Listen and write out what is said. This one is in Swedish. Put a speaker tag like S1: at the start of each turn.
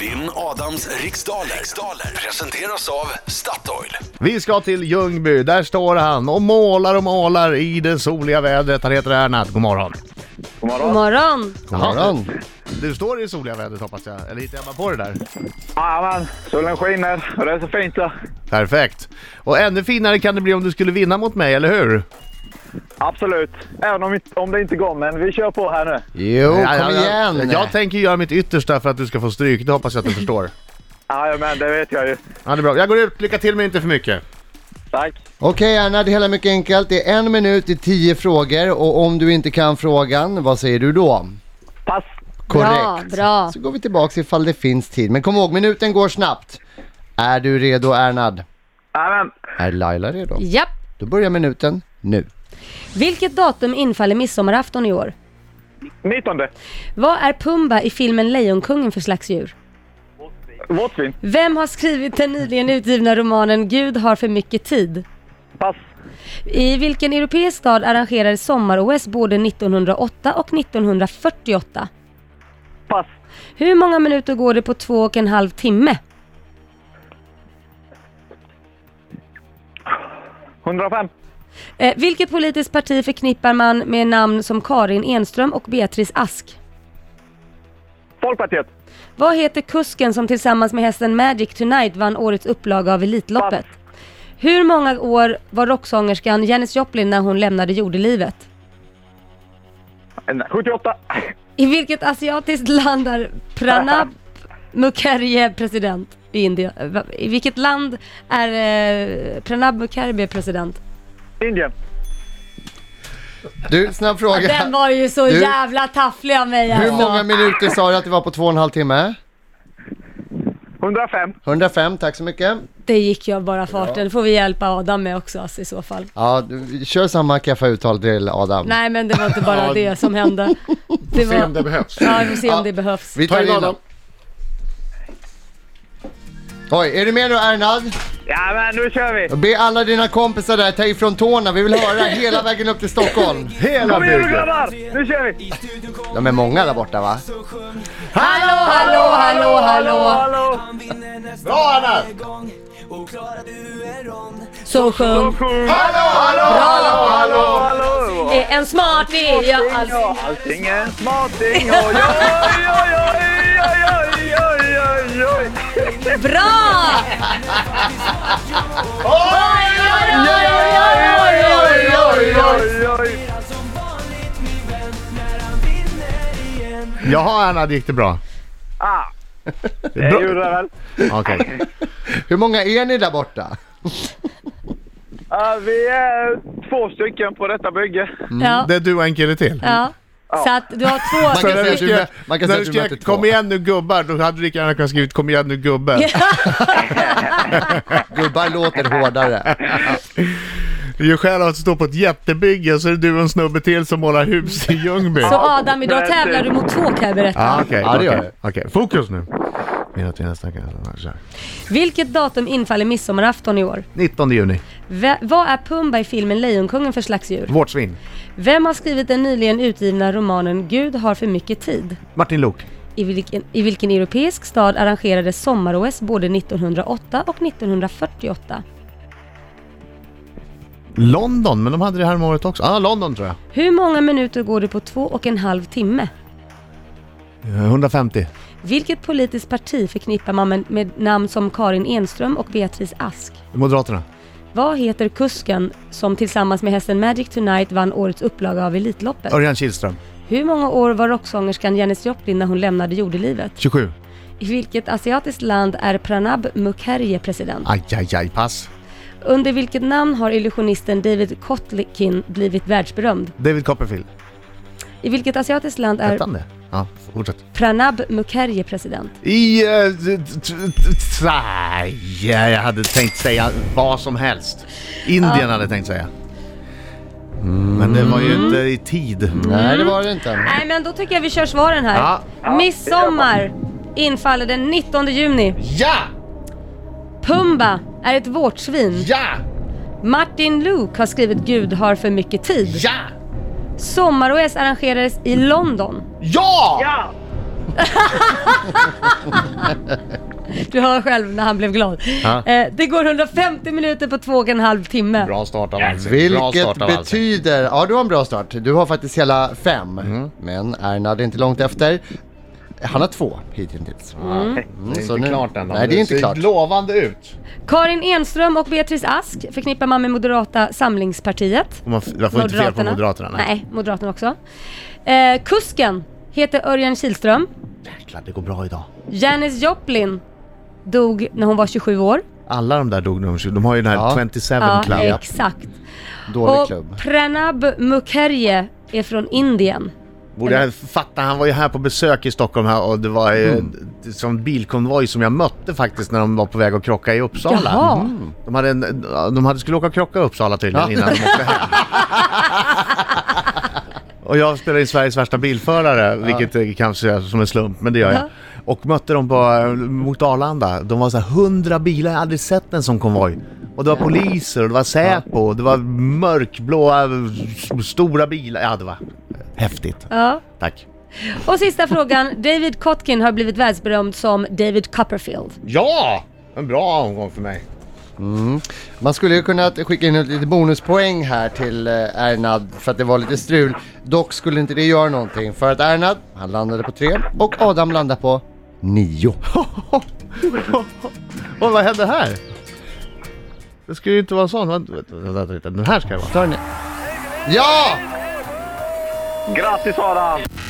S1: Vinn Adams riksdaler. riksdaler presenteras av Statoil.
S2: Vi ska till Ljungby, där står han och målar och målar i det soliga vädret. Han heter Ernat, god morgon.
S3: God morgon.
S4: God morgon!
S2: God morgon. Du står i det soliga vädret hoppas jag, eller hittar jag bara på det där?
S3: Jajamän, solen skiner och det är så fint där.
S2: Perfekt. Och ännu finare kan det bli om du skulle vinna mot mig, eller hur?
S3: Absolut. Även om, inte- om det inte går, men vi kör på här nu.
S5: Jo,
S2: Ja, ja,
S5: kom
S2: ja.
S5: igen!
S2: Jag tänker göra mitt yttersta för att du ska få stryk, det hoppas jag att du förstår.
S3: Jajamän, det vet jag ju.
S2: Ja, det är bra. Jag går ut, lycka till men inte för mycket.
S3: Tack.
S5: Okej Anna, det hela är mycket enkelt. Det är en minut i tio frågor och om du inte kan frågan, vad säger du då?
S3: Pass.
S4: Bra, bra.
S5: Så går vi tillbaks ifall det finns tid. Men kom ihåg, minuten går snabbt. Är du redo Ernad?
S3: Jajamän.
S5: Är Laila redo?
S4: Japp!
S5: Då börjar minuten nu.
S4: Vilket datum infaller midsommarafton i år?
S3: 19.
S4: Vad är Pumba i filmen Lejonkungen för slags djur?
S3: Våtsvin.
S4: Vem har skrivit den nyligen utgivna romanen Gud har för mycket tid?
S3: Pass.
S4: I vilken europeisk stad arrangerades sommar-OS både 1908 och 1948?
S3: Pass.
S4: Hur många minuter går det på två och en halv timme?
S3: 105.
S4: Eh, vilket politiskt parti förknippar man med namn som Karin Enström och Beatrice Ask?
S3: Folkpartiet.
S4: Vad heter kusken som tillsammans med hästen Magic Tonight vann årets upplaga av Elitloppet? Hur många år var rocksångerskan Janis Joplin när hon lämnade jordelivet?
S3: En- 78.
S4: I vilket asiatiskt land är Pranab Mukherjee president? I Indien. Eh, va- I vilket land är eh, Pranab Mukherjee president?
S3: Indien.
S5: Du, snabb
S4: Den
S5: fråga.
S4: var ju så
S5: Du-
S4: jävla tafflig av mig
S5: Hur
S4: alltså.
S5: många minuter sa du att det var på två och en halv timme?
S3: 105.
S5: 105, tack så mycket.
S4: Det gick jag bara farten. Det får vi hjälpa Adam med också alltså, i så fall.
S5: Ja, du, kör samma kaffe-uttal till Adam.
S4: Nej men det var inte bara det som hände. Det
S2: Se om det
S4: var...
S2: behövs.
S4: Ja, vi får se
S5: Ja.
S4: om det behövs.
S5: Vi tar in Adam. Oj, är du med nu Ernad?
S3: Jajamän, nu kör vi.
S5: Be alla dina kompisar där ta ifrån tårna, vi vill höra hela vägen upp till Stockholm.
S2: Hela
S3: Kom igen nu
S2: bygden.
S3: grabbar! Nu kör vi!
S5: De är många där borta va?
S4: Hallå, hallå, hallå, hallå!
S3: Hallå!
S2: Bra Anna!
S4: Så sjung! Hallå,
S3: Hallå! Hallå!
S4: Är en smart vilja alltså.
S3: Allting är en smarting. Oj, oj, oj, oj, oj, oj, oj, oj, oj.
S4: Bra!
S3: Oj, oj, oj, oj.
S2: Jaha Anna, det gick det bra?
S3: Ah, det
S2: Bra.
S3: gjorde det väl.
S2: Okej.
S5: Hur många är ni där borta?
S3: Ah, vi är två stycken på detta bygge.
S4: Ja.
S2: Det är du och en kille till.
S4: Ja. Så att du har
S5: Mm. Man
S4: två...
S2: För när
S5: säga
S2: du
S5: att du mö-
S2: skrev,
S5: man kan
S2: när
S5: säga
S2: du
S5: att du möter
S2: skrev
S5: två.
S2: kom igen nu gubbar, då hade du lika gärna kunnat skrivit kom igen nu gubbe.
S5: Gubbar låter hårdare.
S2: Det är ju skäl att stå på ett jättebygge och så är det du och en snubbe till som målar hus i Ljungby.
S4: Så Adam, idag tävlar du mot två kan jag berätta.
S2: ah, okej,
S5: Ja, det gör
S2: okej, okej. fokus nu. Minut, minut, minut, minut.
S4: Vilket datum infaller midsommarafton i år?
S2: 19 juni,
S4: Ve- vad är Pumba i filmen Lejonkungen för slags djur?
S2: vårt svin.
S4: Vem har skrivit den nyligen utgivna romanen Gud har för mycket tid?
S2: Martin Lok.
S4: I vilken, i vilken europeisk stad arrangerades sommar-OS både 1908 och 1948?
S2: London, men de hade det här om året också. Ja, ah, London tror jag.
S4: Hur många minuter går det på två och en halv timme?
S2: Eh, 150.
S4: Vilket politiskt parti förknippar man med, med namn som Karin Enström och Beatrice Ask?
S2: Moderaterna.
S4: Vad heter kusken som tillsammans med hästen Magic Tonight vann årets upplaga av Elitloppet?
S2: Örjan Kihlström.
S4: Hur många år var rocksångerskan Janis Joplin när hon lämnade jordelivet?
S2: 27.
S4: I vilket asiatiskt land är Pranab Mukherjee president?
S2: Aj, aj, aj, pass.
S4: Under vilket namn har illusionisten David Kotlikin blivit världsberömd?
S2: David Copperfield.
S4: I vilket asiatiskt land är
S2: Hette han det? Ja, fortsätt.
S4: Pranab Mukherjee president?
S2: I... eh, t- t- t- t- aj, Jag hade tänkt säga vad som helst. Indien hade jag tänkt säga. Men det var ju inte i tid.
S5: Nej, det var det inte.
S4: Nej men då tycker jag vi kör svaren här.
S2: Ja.
S4: Midsommar infaller den 19 juni.
S2: Ja!
S4: Pumba är ett vårtsvin.
S2: Ja!
S4: Martin Luke har skrivit Gud har för mycket tid.
S2: Ja!
S4: Sommar-OS arrangerades i London.
S2: Ja!
S3: Ja!
S4: Du hör själv när han blev glad.
S2: Ja.
S4: Eh, det går 150 minuter på två och en halv timme.
S2: Bra start av Alsing. Bra
S5: Vilket
S2: start av Alsing.
S5: betyder... Ja, du har en bra start. Du har faktiskt hela fem. Men Ernad är inte långt efter. Han har två hittills. Mm,
S2: Det är
S5: Så
S2: inte
S5: nu-
S2: klart än.
S5: Nej, det är inte
S2: ser
S5: klart.
S2: lovande ut.
S4: Karin Enström och Beatrice Ask förknippar man med Moderata samlingspartiet.
S2: Man, f- man får inte fel på Moderaterna.
S4: Nej, Moderaterna också. Eh, kusken heter Örjan Kihlström.
S2: Jäklar, det går bra idag.
S4: Janis Joplin dog när hon var 27 år.
S2: Alla de där dog nummer 20. De har ju den här
S5: Ja.
S2: 27
S4: Ja,
S2: Club.
S4: exakt.
S5: Dålig klubb.
S4: Och Pranab Mukherjee är från Indien.
S2: Borde jag fatta, han var ju här på besök i Stockholm här och det var ju mm. som bilkonvoj som jag mötte faktiskt när de var på väg att krocka i Uppsala.
S4: Jaha.
S2: Mm. De, hade en, de hade skulle åka och krocka i Uppsala tydligen innan de åkte hem. och jag spelar in Sveriges värsta bilförare, vilket eh, kanske är som en slump, men det gör jag.
S4: Ja.
S2: Och mötte dem på, eh, mot Arlanda. De var så här 100 bilar, jag har aldrig sett en sån konvoj. Och det var poliser och det var Säpo och det var mörkblåa s- stora bilar. Ja, det var häftigt.
S4: Ja.
S2: Tack.
S4: Och sista frågan. David Kotkin har blivit världsberömd som David Copperfield.
S2: Ja! En bra omgång för mig.
S5: Man skulle ju kunna skicka in lite bonuspoäng här till eh, Ernad för att det var lite strul. Dock skulle inte det göra någonting för att Ernad, han landade på tre och Adam landade på nio.
S2: Och vad hände här? Det skulle ju inte vara sån. Vänta, vänta, vänta, vänta. Den här ska det vara.
S5: Tar ni? Ja!
S3: Grattis Adam!